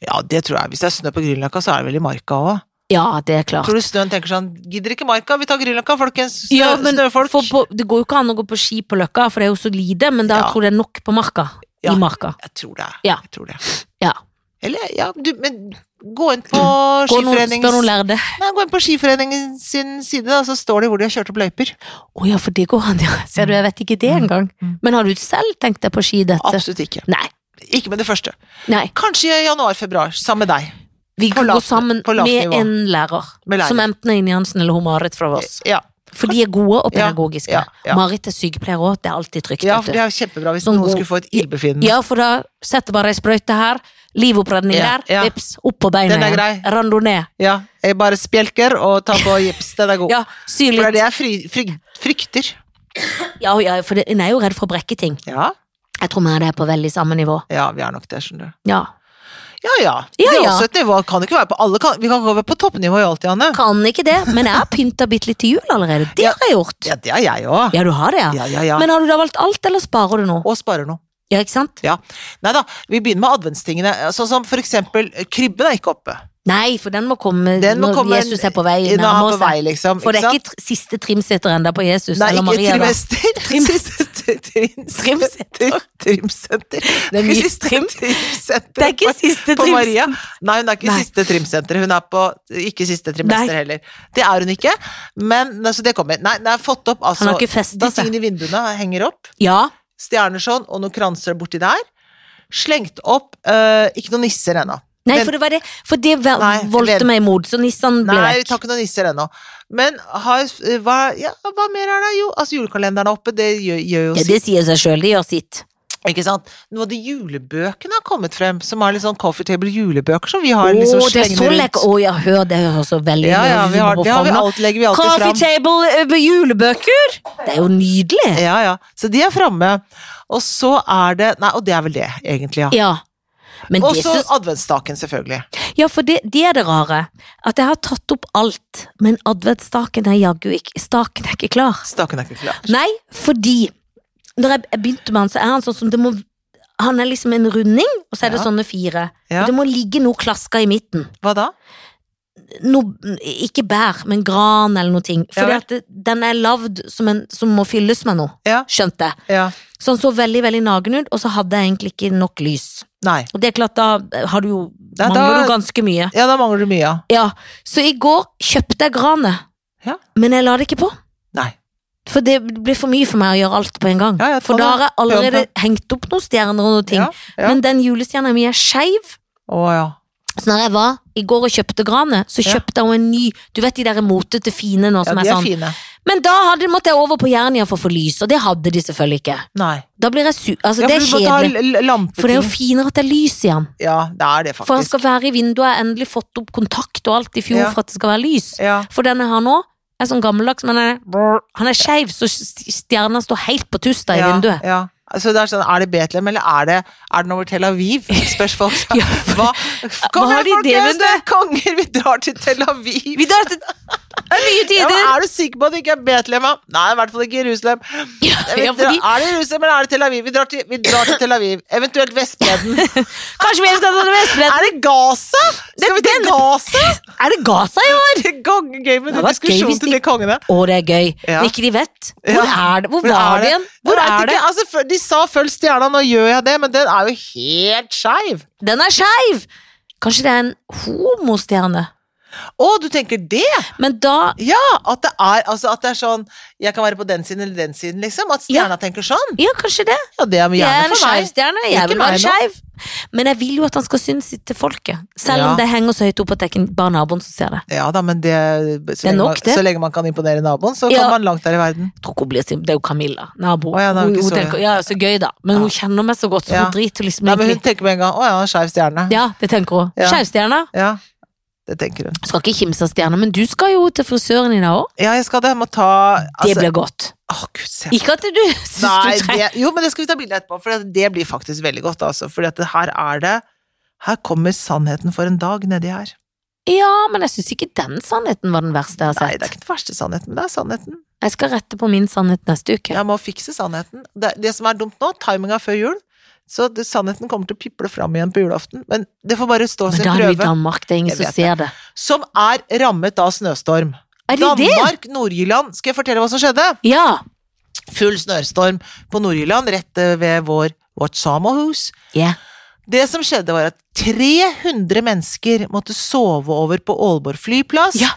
[SPEAKER 1] Ja, det tror jeg. Hvis det er snø på Grünerløkka, så er det vel i marka òg.
[SPEAKER 2] Ja, det er klart.
[SPEAKER 1] Tror du snøen tenker sånn Gidder ikke marka, vi tar Grünerløkka, folkens. Snø,
[SPEAKER 2] Ja, men
[SPEAKER 1] snøfolk.
[SPEAKER 2] for på, det går jo ikke an å gå på ski på Løkka, for det er jo så lite, men da
[SPEAKER 1] Ja.
[SPEAKER 2] tror jeg det er nok på marka.
[SPEAKER 1] Ja.
[SPEAKER 2] I marka.
[SPEAKER 1] Jeg tror det.
[SPEAKER 2] Ja.
[SPEAKER 1] Jeg tror det.
[SPEAKER 2] Ja.
[SPEAKER 1] Eller, ja, du, men gå inn på
[SPEAKER 2] Gå noen, spør noen
[SPEAKER 1] skiforeningens
[SPEAKER 2] lærde.
[SPEAKER 1] Nei, gå inn på skiforeningen sin side, da, så står det hvor de har kjørt opp løyper.
[SPEAKER 2] Å ja, for det går an, ja. Ser du, jeg vet ikke det
[SPEAKER 1] Mm.
[SPEAKER 2] engang.
[SPEAKER 1] Mm.
[SPEAKER 2] Men har du selv tenkt deg på ski dette?
[SPEAKER 1] Absolutt ikke.
[SPEAKER 2] Nei.
[SPEAKER 1] Ikke med det første.
[SPEAKER 2] Nei.
[SPEAKER 1] Kanskje i januar-februar, sammen med deg.
[SPEAKER 2] Vi
[SPEAKER 1] På
[SPEAKER 2] kan gå
[SPEAKER 1] lavt-
[SPEAKER 2] sammen
[SPEAKER 1] på lavt
[SPEAKER 2] med
[SPEAKER 1] nivå.
[SPEAKER 2] en lærer,
[SPEAKER 1] Med lærer.
[SPEAKER 2] som enten er Ine Jansen eller hun Marit fra Voss.
[SPEAKER 1] Ja,
[SPEAKER 2] For de er gode og
[SPEAKER 1] Ja,
[SPEAKER 2] pedagogiske.
[SPEAKER 1] ja, ja.
[SPEAKER 2] Marit er sykepleier òg, det er alltid trygt.
[SPEAKER 1] ja
[SPEAKER 2] vet
[SPEAKER 1] for
[SPEAKER 2] du.
[SPEAKER 1] det er kjempebra hvis
[SPEAKER 2] Sånn
[SPEAKER 1] noen
[SPEAKER 2] god-
[SPEAKER 1] skulle få et ildbefinnende.
[SPEAKER 2] ja, for da setter bare ei sprøyte her, livopprettende
[SPEAKER 1] Ja,
[SPEAKER 2] der,
[SPEAKER 1] ja.
[SPEAKER 2] vips, opp på beina
[SPEAKER 1] Den er grei.
[SPEAKER 2] igjen. Randonee.
[SPEAKER 1] Ja, jeg bare spjelker og tar på gips. Den er god.
[SPEAKER 2] Ja, sy
[SPEAKER 1] For det er
[SPEAKER 2] litt.
[SPEAKER 1] det jeg fry, fry, frykter.
[SPEAKER 2] Ja, ja, for det- en er jo redd for å brekke ting.
[SPEAKER 1] Ja,
[SPEAKER 2] Jeg tror vi er der på veldig samme nivå.
[SPEAKER 1] ja, vi er nok det, skjønner du.
[SPEAKER 2] Ja.
[SPEAKER 1] Ja, ja.
[SPEAKER 2] Ja,
[SPEAKER 1] det er
[SPEAKER 2] ja.
[SPEAKER 1] også et nivå. Kan det ikke være på alle kan, Vi kan gå over på toppnivå i alt, Janne.
[SPEAKER 2] Kan ikke det, men jeg har pynta bitte litt til jul allerede. Det
[SPEAKER 1] Ja.
[SPEAKER 2] har jeg gjort.
[SPEAKER 1] Ja, det er jeg òg.
[SPEAKER 2] Ja, du har det, ja.
[SPEAKER 1] Ja, ja, ja.
[SPEAKER 2] Men har du da valgt alt, eller sparer du noe?
[SPEAKER 1] Og sparer noe.
[SPEAKER 2] Ja, ikke sant?
[SPEAKER 1] Ja. Nei da, vi begynner med adventstingene. Sånn som for eksempel Krybben er ikke oppe.
[SPEAKER 2] Nei, for den må komme
[SPEAKER 1] Den må
[SPEAKER 2] når
[SPEAKER 1] komme
[SPEAKER 2] Jesus er på vei.
[SPEAKER 1] Nå er han
[SPEAKER 2] nærmer
[SPEAKER 1] på
[SPEAKER 2] seg.
[SPEAKER 1] vei, liksom.
[SPEAKER 2] For det er ikke tr siste trimsetter ennå på Jesus
[SPEAKER 1] Nei,
[SPEAKER 2] eller
[SPEAKER 1] ikke
[SPEAKER 2] Maria. da.
[SPEAKER 1] trimester. Siste trimsenter. Trimsenter.
[SPEAKER 2] Det er mye
[SPEAKER 1] Siste
[SPEAKER 2] trim.
[SPEAKER 1] trimsenter
[SPEAKER 2] Det er ikke
[SPEAKER 1] på-
[SPEAKER 2] siste
[SPEAKER 1] på
[SPEAKER 2] trims.
[SPEAKER 1] Maria. Nei, hun er ikke
[SPEAKER 2] Nei.
[SPEAKER 1] siste trimsenter. Hun er på ikke siste trimester
[SPEAKER 2] Nei.
[SPEAKER 1] heller. Det er hun ikke, men nei, så det kommer. Nei, det er fått opp, altså.
[SPEAKER 2] Han har ikke festet
[SPEAKER 1] Da
[SPEAKER 2] seg.
[SPEAKER 1] tingene i vinduene henger opp.
[SPEAKER 2] Ja,
[SPEAKER 1] Stjernesjån og noen kranser borti der. Slengt opp, eh, ikke noen nisser ennå.
[SPEAKER 2] nei,
[SPEAKER 1] Men-
[SPEAKER 2] for det var det For det var,
[SPEAKER 1] Nei,
[SPEAKER 2] voldte
[SPEAKER 1] ved-
[SPEAKER 2] meg imot, så Nissan ble
[SPEAKER 1] Nei, vi
[SPEAKER 2] vekk.
[SPEAKER 1] tar ikke noen nisser ennå. Men har, eh, hva, ja, hva mer er det? Jo, altså julekalenderen er oppe, det gjør, gjør jo
[SPEAKER 2] Ja, det sier seg sjøl, det gjør sitt.
[SPEAKER 1] Ikke sant? Noen av de julebøkene har kommet frem, som er litt sånn coffee table julebøker som vi har liksom
[SPEAKER 2] Å, det er så
[SPEAKER 1] slengende
[SPEAKER 2] lekkert! Å, jeg hører det høres så veldig
[SPEAKER 1] Ja, ja, vi har, det har vi alt, legger vi alltid
[SPEAKER 2] Coffee
[SPEAKER 1] fram.
[SPEAKER 2] table eh, julebøker! Det er jo nydelig!
[SPEAKER 1] Ja, ja. Så de er framme. Og så er det Nei, og det er vel det, egentlig, ja.
[SPEAKER 2] Ja. Men
[SPEAKER 1] Og
[SPEAKER 2] det
[SPEAKER 1] så
[SPEAKER 2] synes,
[SPEAKER 1] adventsstaken, selvfølgelig.
[SPEAKER 2] ja, for det, det er det rare. At jeg har tatt opp alt, men adventsstaken er jaggu ikke Staken er ikke klar.
[SPEAKER 1] Staken er ikke klar.
[SPEAKER 2] Nei, fordi Når jeg jeg begynte med han, så er han sånn som det må Han er liksom en runding, og så er det
[SPEAKER 1] Ja.
[SPEAKER 2] sånne fire.
[SPEAKER 1] Ja.
[SPEAKER 2] Og det må ligge noe klaska i midten.
[SPEAKER 1] Hva da?
[SPEAKER 2] Noe, ikke bær, men gran eller noe ting. Fordi
[SPEAKER 1] Ja vel.
[SPEAKER 2] at det, den er lagd som en som må fylles med noe.
[SPEAKER 1] Ja.
[SPEAKER 2] Skjønte jeg.
[SPEAKER 1] Ja.
[SPEAKER 2] Så han så veldig veldig nagen ut, og så hadde jeg egentlig ikke nok lys.
[SPEAKER 1] Nei.
[SPEAKER 2] Og det er klart, da har du jo
[SPEAKER 1] Ja,
[SPEAKER 2] Mangler
[SPEAKER 1] da-
[SPEAKER 2] du ganske mye.
[SPEAKER 1] Ja, da mangler du mye, ja.
[SPEAKER 2] Ja, Så i går kjøpte jeg granet,
[SPEAKER 1] Ja.
[SPEAKER 2] men jeg la det ikke på.
[SPEAKER 1] Nei.
[SPEAKER 2] For det blir for mye for meg å gjøre alt på en gang.
[SPEAKER 1] Ja, ja, ta
[SPEAKER 2] for da
[SPEAKER 1] det.
[SPEAKER 2] har jeg allerede hengt opp noen stjerner og noen ting.
[SPEAKER 1] Ja, ja.
[SPEAKER 2] Men den julestjerna mi er skeiv.
[SPEAKER 1] Å ja.
[SPEAKER 2] Så når jeg var i går og kjøpte granet, så
[SPEAKER 1] Ja.
[SPEAKER 2] kjøpte jeg jo en ny Du vet de der motete fine
[SPEAKER 1] ja.
[SPEAKER 2] nå som
[SPEAKER 1] De
[SPEAKER 2] er
[SPEAKER 1] er
[SPEAKER 2] sånn.
[SPEAKER 1] fine.
[SPEAKER 2] Men da hadde, måtte jeg over på Jernia for å få lys, og det hadde de selvfølgelig ikke.
[SPEAKER 1] Nei.
[SPEAKER 2] Da blir jeg su... Altså,
[SPEAKER 1] Ja,
[SPEAKER 2] det
[SPEAKER 1] for
[SPEAKER 2] er
[SPEAKER 1] du må ta
[SPEAKER 2] kjedelig.
[SPEAKER 1] l- l-
[SPEAKER 2] For det er jo
[SPEAKER 1] lampeting.
[SPEAKER 2] finere at det er lys i han.
[SPEAKER 1] Ja, det er det,
[SPEAKER 2] For han
[SPEAKER 1] faktisk.
[SPEAKER 2] skal være i vinduet. Jeg har endelig fått opp kontakt og alt i fjor
[SPEAKER 1] Ja.
[SPEAKER 2] for at det skal være lys.
[SPEAKER 1] Ja.
[SPEAKER 2] For den jeg har nå, er sånn gammeldags, men han er, han er skeiv, så stjerna står helt på tusta i
[SPEAKER 1] ja,
[SPEAKER 2] vinduet.
[SPEAKER 1] Ja. Så det er sånn, er det Betlehem, eller er det, er det noe over Tel Aviv? Spørs folk. Så,
[SPEAKER 2] Ja.
[SPEAKER 1] hva, kom
[SPEAKER 2] har
[SPEAKER 1] her,
[SPEAKER 2] de det
[SPEAKER 1] folkens,
[SPEAKER 2] med
[SPEAKER 1] det er konger, vi drar til Tel Aviv.
[SPEAKER 2] Vi drar til Det er nye
[SPEAKER 1] Ja,
[SPEAKER 2] tider!
[SPEAKER 1] men er du sikker på at det ikke er Betlehem? da? Nei, i hvert fall ikke Jerusalem.
[SPEAKER 2] Ja,
[SPEAKER 1] Vi
[SPEAKER 2] ja,
[SPEAKER 1] drar,
[SPEAKER 2] fordi,
[SPEAKER 1] er det Jerusalem eller er det Tel Aviv? Vi drar til, vi drar til Tel Aviv. Eventuelt Vestbredden.
[SPEAKER 2] kanskje vi skal ta det mest men
[SPEAKER 1] Er det Gaza? Skal vi til Gaza?
[SPEAKER 2] Er det Gaza i år?
[SPEAKER 1] Det er gang- gøy med
[SPEAKER 2] Det
[SPEAKER 1] den
[SPEAKER 2] var gøy
[SPEAKER 1] diskusjonen
[SPEAKER 2] hvis
[SPEAKER 1] til
[SPEAKER 2] de-
[SPEAKER 1] de kongene.
[SPEAKER 2] Å, det er gøy.
[SPEAKER 1] Ja.
[SPEAKER 2] Når ikke de vet.
[SPEAKER 1] Ja.
[SPEAKER 2] Hvor er det? Hvor var de igjen?
[SPEAKER 1] Hvor
[SPEAKER 2] Hvor er det?
[SPEAKER 1] Altså, før- de sa 'følg stjerna', nå gjør jeg det, men den er jo helt skeiv.
[SPEAKER 2] Den er skeiv! Kanskje det er en homostjerne?
[SPEAKER 1] Å, du tenker det?
[SPEAKER 2] Men da
[SPEAKER 1] Ja, at det er, altså, at det er sånn Jeg kan være på den siden eller den siden, liksom. At stjerna tenker sånn.
[SPEAKER 2] Ja, kanskje det.
[SPEAKER 1] Ja, det er
[SPEAKER 2] Jeg
[SPEAKER 1] gjerne
[SPEAKER 2] er en
[SPEAKER 1] for meg.
[SPEAKER 2] skeivstjerne.
[SPEAKER 1] Ikke
[SPEAKER 2] Jeg vil være
[SPEAKER 1] meg nå.
[SPEAKER 2] skeiv. Men jeg vil jo at han skal synes sitt til folket. Selv
[SPEAKER 1] Ja.
[SPEAKER 2] om det henger så høyt opp at det er ikke bare naboen som ser det.
[SPEAKER 1] Ja da, men det, så,
[SPEAKER 2] Det er
[SPEAKER 1] lenge
[SPEAKER 2] nok
[SPEAKER 1] man,
[SPEAKER 2] det.
[SPEAKER 1] så lenge man kan imponere naboen, så
[SPEAKER 2] Ja.
[SPEAKER 1] kan man langt der i verden.
[SPEAKER 2] Jeg tror ikke hun blir sint. Det er jo Camilla, nabo.
[SPEAKER 1] Å ja, det er jo
[SPEAKER 2] hun,
[SPEAKER 1] ikke
[SPEAKER 2] hun
[SPEAKER 1] så-
[SPEAKER 2] tenker, ja, så gøy, da. Men
[SPEAKER 1] Ja.
[SPEAKER 2] hun kjenner meg så godt, så
[SPEAKER 1] Ja.
[SPEAKER 2] hun driter liksom
[SPEAKER 1] Nei, men
[SPEAKER 2] egentlig
[SPEAKER 1] hun tenker med en gang 'Å ja, skeiv stjerne'. Ja.
[SPEAKER 2] Ja, det tenker hun.
[SPEAKER 1] Ja.
[SPEAKER 2] Skeivstjerna.
[SPEAKER 1] det tenker hun.
[SPEAKER 2] Skal ikke kimse av stjerner, men du skal jo til frisøren i dag òg.
[SPEAKER 1] Ja, jeg skal det. Jeg må ta
[SPEAKER 2] Det
[SPEAKER 1] altså,
[SPEAKER 2] blir godt.
[SPEAKER 1] Å, gud, se
[SPEAKER 2] Ikke at du syns
[SPEAKER 1] Nei,
[SPEAKER 2] du trenger
[SPEAKER 1] det, jo, men det skal vi ta bilde etterpå, for det, det blir faktisk veldig godt, altså. For her er det Her kommer sannheten for en dag nedi her.
[SPEAKER 2] Ja, men jeg syns ikke den sannheten var den verste jeg har
[SPEAKER 1] Nei, det er
[SPEAKER 2] sett.
[SPEAKER 1] ikke den verste sannheten, men det er sannheten.
[SPEAKER 2] Jeg skal rette på min sannhet neste uke.
[SPEAKER 1] Jeg må fikse sannheten. Det, det som er dumt nå, timinga før jul, så det, sannheten kommer til å piple fram igjen på julaften. Men det får bare stå
[SPEAKER 2] men
[SPEAKER 1] sin
[SPEAKER 2] da er du i
[SPEAKER 1] prøve.
[SPEAKER 2] Danmark, det er
[SPEAKER 1] Jeg
[SPEAKER 2] ingen som
[SPEAKER 1] vet
[SPEAKER 2] ser det.
[SPEAKER 1] Som er rammet av snøstorm.
[SPEAKER 2] Er det det?
[SPEAKER 1] Danmark, Nord-Jylland. Skal jeg fortelle hva som skjedde?
[SPEAKER 2] Ja!
[SPEAKER 1] Full snøstorm på Nord-Jylland, rett eh, ved vår, vårt samehus.
[SPEAKER 2] Ja.
[SPEAKER 1] Det som skjedde var at 300 mennesker måtte sove over på Aalborg flyplass,
[SPEAKER 2] Ja.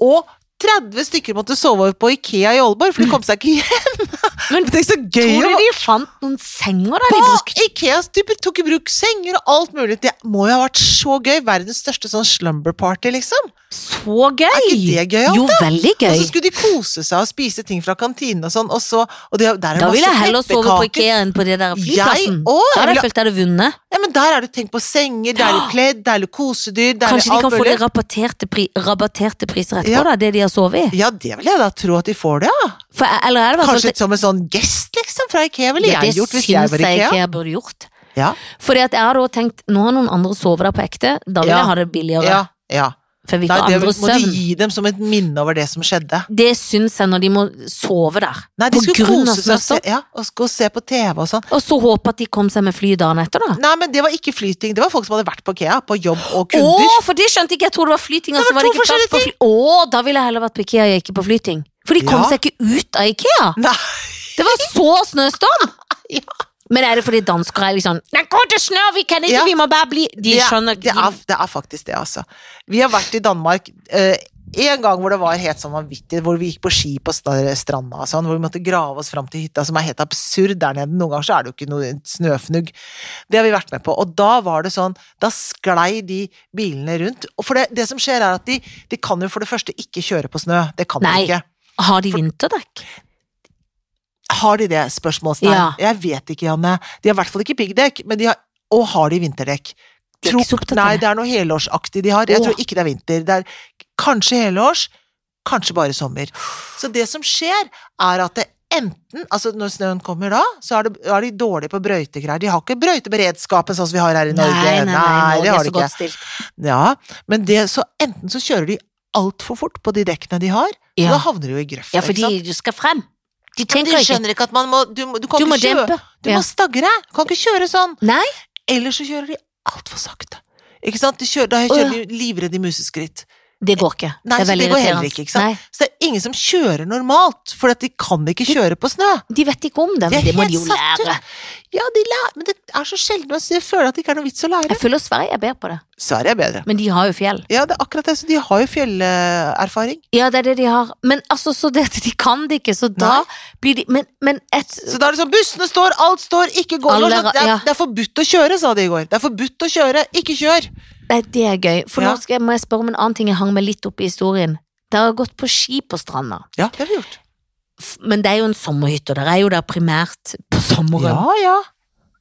[SPEAKER 1] og 30 stykker måtte sove over på Ikea i Aalborg, for de kom seg ikke hjem.
[SPEAKER 2] Men
[SPEAKER 1] Tenk så gøy
[SPEAKER 2] tror
[SPEAKER 1] å
[SPEAKER 2] du de fant noen senger der de brukte?
[SPEAKER 1] på Ikea typ, tok i bruk senger og alt mulig. Det må jo ha vært så gøy. Verdens største sånn slumber party, liksom.
[SPEAKER 2] Så gøy!
[SPEAKER 1] Er ikke det gøy?
[SPEAKER 2] Jo, veldig
[SPEAKER 1] Og
[SPEAKER 2] gøy.
[SPEAKER 1] så skulle de kose seg og spise ting fra kantinen og sånn, og så og det, der er
[SPEAKER 2] Da ville
[SPEAKER 1] masse
[SPEAKER 2] jeg heller sove på
[SPEAKER 1] pepperkaker.
[SPEAKER 2] Ikea enn på det der
[SPEAKER 1] Jeg
[SPEAKER 2] flyplassen.
[SPEAKER 1] òg!
[SPEAKER 2] Da hadde
[SPEAKER 1] Jeg
[SPEAKER 2] jeg følt jeg hadde vunnet.
[SPEAKER 1] Ja, men der er det tenkt på senger, deilig pledd, deilig kosedyr, deilig
[SPEAKER 2] Kanskje de kan få de rabatterte, pri rabatterte priser etterpå,
[SPEAKER 1] Ja.
[SPEAKER 2] da, det de har sovet i.
[SPEAKER 1] Ja, det vil jeg da tro at de får det, ja.
[SPEAKER 2] For, eller er det bare sånn at
[SPEAKER 1] Kanskje som en sånn gest, liksom, fra Ikea, ville jeg gjort hvis jeg var
[SPEAKER 2] Det syns jeg
[SPEAKER 1] Ikea.
[SPEAKER 2] ikke jeg burde gjort.
[SPEAKER 1] Ja,
[SPEAKER 2] Fordi at jeg har da tenkt, nå har noen andre sovet der på ekte, da vil
[SPEAKER 1] Ja.
[SPEAKER 2] jeg ha det billigere.
[SPEAKER 1] ja, ja.
[SPEAKER 2] For jeg vil
[SPEAKER 1] Nei,
[SPEAKER 2] ikke ha
[SPEAKER 1] det
[SPEAKER 2] andre
[SPEAKER 1] må du
[SPEAKER 2] søvn.
[SPEAKER 1] gi dem som et minne over det som skjedde.
[SPEAKER 2] Det syns jeg når de må sove der.
[SPEAKER 1] Nei, de
[SPEAKER 2] På
[SPEAKER 1] skulle
[SPEAKER 2] grunn av
[SPEAKER 1] kose seg og se,
[SPEAKER 2] snøstopp.
[SPEAKER 1] ja, og skulle se på TV og sånn.
[SPEAKER 2] Og så håpe at de kom seg med fly dagen etter, da.
[SPEAKER 1] Nei, men det var ikke flyting, det var folk som hadde vært på Ikea, på jobb og
[SPEAKER 2] Å,
[SPEAKER 1] kunder.
[SPEAKER 2] for det skjønte ikke jeg! Jeg trodde det var flyting. og
[SPEAKER 1] Det var
[SPEAKER 2] så var
[SPEAKER 1] to
[SPEAKER 2] det ikke plass
[SPEAKER 1] forskjellige
[SPEAKER 2] på fly. Å, da ville jeg heller vært på Ikea og ikke på flyting. For de kom
[SPEAKER 1] Ja.
[SPEAKER 2] seg ikke ut av Ikea!
[SPEAKER 1] Nei,
[SPEAKER 2] Det var så snøstorm!
[SPEAKER 1] Ja.
[SPEAKER 2] Men er det fordi dansker er liksom Det går til snø, vi kan ikke,
[SPEAKER 1] Ja.
[SPEAKER 2] vi må bare bli De
[SPEAKER 1] det er-
[SPEAKER 2] skjønner
[SPEAKER 1] det er, det er faktisk det, altså. Vi har vært i Danmark eh, en gang hvor det var helt sånn vanvittig, hvor vi gikk på ski på sta- stranda og sånn, hvor vi måtte grave oss fram til hytta, som er helt absurd der nede. Noen ganger så er det jo ikke noe snøfnugg. Det har vi vært med på. Og da var det sånn, da sklei de bilene rundt. Og for det, det som skjer er at de, de kan jo for det første ikke kjøre på snø. Det kan
[SPEAKER 2] Nei.
[SPEAKER 1] de ikke.
[SPEAKER 2] Har de vinterdekk?
[SPEAKER 1] Har de det, spørsmålstegn?
[SPEAKER 2] Ja.
[SPEAKER 1] Jeg vet ikke, Janne. De har i hvert fall ikke piggdekk, men de har, og har de vinterdekk?
[SPEAKER 2] De er
[SPEAKER 1] Tro-
[SPEAKER 2] ikke så opptatt av
[SPEAKER 1] nei,
[SPEAKER 2] det.
[SPEAKER 1] det er noe helårsaktig de har. Jeg
[SPEAKER 2] Åh.
[SPEAKER 1] tror ikke det er vinter. Det er kanskje helårs, kanskje bare sommer. Så det som skjer, er at det enten Altså, når snøen kommer da, så er, det, er de dårlige på brøytegreier. De har ikke brøyteberedskapen sånn som vi har her i Norge.
[SPEAKER 2] Norge
[SPEAKER 1] det har de
[SPEAKER 2] er så
[SPEAKER 1] ikke.
[SPEAKER 2] godt stilt.
[SPEAKER 1] Ja, men det, så enten så kjører de altfor fort på de dekkene de har, så
[SPEAKER 2] Ja.
[SPEAKER 1] da havner de jo i grøfta.
[SPEAKER 2] ja, for
[SPEAKER 1] ikke sant?
[SPEAKER 2] de skal frem. De
[SPEAKER 1] Men
[SPEAKER 2] tenker
[SPEAKER 1] du
[SPEAKER 2] ikke.
[SPEAKER 1] skjønner ikke at man må Du, må- du kan
[SPEAKER 2] Du må
[SPEAKER 1] ikke kjøre
[SPEAKER 2] dempe.
[SPEAKER 1] Du
[SPEAKER 2] Ja.
[SPEAKER 1] må stagre! Du kan ikke kjøre sånn!
[SPEAKER 2] Nei.
[SPEAKER 1] Ellers så kjører de altfor sakte. Ikke sant? De kjører, da kjører de livredde i museskritt.
[SPEAKER 2] Det går ikke.
[SPEAKER 1] Nei, så
[SPEAKER 2] det er veldig
[SPEAKER 1] det går heller
[SPEAKER 2] irriterende.
[SPEAKER 1] ikke, ikke sant?
[SPEAKER 2] Nei,
[SPEAKER 1] Så det er ingen som kjører normalt, for at de kan ikke kjøre på snø.
[SPEAKER 2] de vet ikke om det,
[SPEAKER 1] De er
[SPEAKER 2] men det må
[SPEAKER 1] helt
[SPEAKER 2] de jo
[SPEAKER 1] satt ut.
[SPEAKER 2] lære.
[SPEAKER 1] Ja, de lærer, men det er så sjelden at jeg føler at det ikke er noe vits å lære.
[SPEAKER 2] Jeg føler Sverige er bedre på det,
[SPEAKER 1] Sverige er bedre.
[SPEAKER 2] men de har jo fjell.
[SPEAKER 1] Ja, det er akkurat det. Så de har jo fjellerfaring.
[SPEAKER 2] Ja, det er det de har. Men altså, så det, de kan det ikke, så da
[SPEAKER 1] Nei.
[SPEAKER 2] blir de Men, men et
[SPEAKER 1] Så da er det sånn bussene står, alt står, ikke gå. Det var
[SPEAKER 2] Alle-
[SPEAKER 1] sånn, det, er,
[SPEAKER 2] ja.
[SPEAKER 1] det er forbudt å kjøre, sa de i går. Det er forbudt å kjøre, ikke kjør!
[SPEAKER 2] Nei, det er gøy. For
[SPEAKER 1] Ja.
[SPEAKER 2] nå skal, jeg- må jeg spørre om en annen ting jeg hang meg litt opp i historien. Dere har gått på ski på stranda,
[SPEAKER 1] Ja, det har vi gjort.
[SPEAKER 2] F- men det er jo en sommerhytte, og dere er jo der primært på sommeren.
[SPEAKER 1] Ja, ja.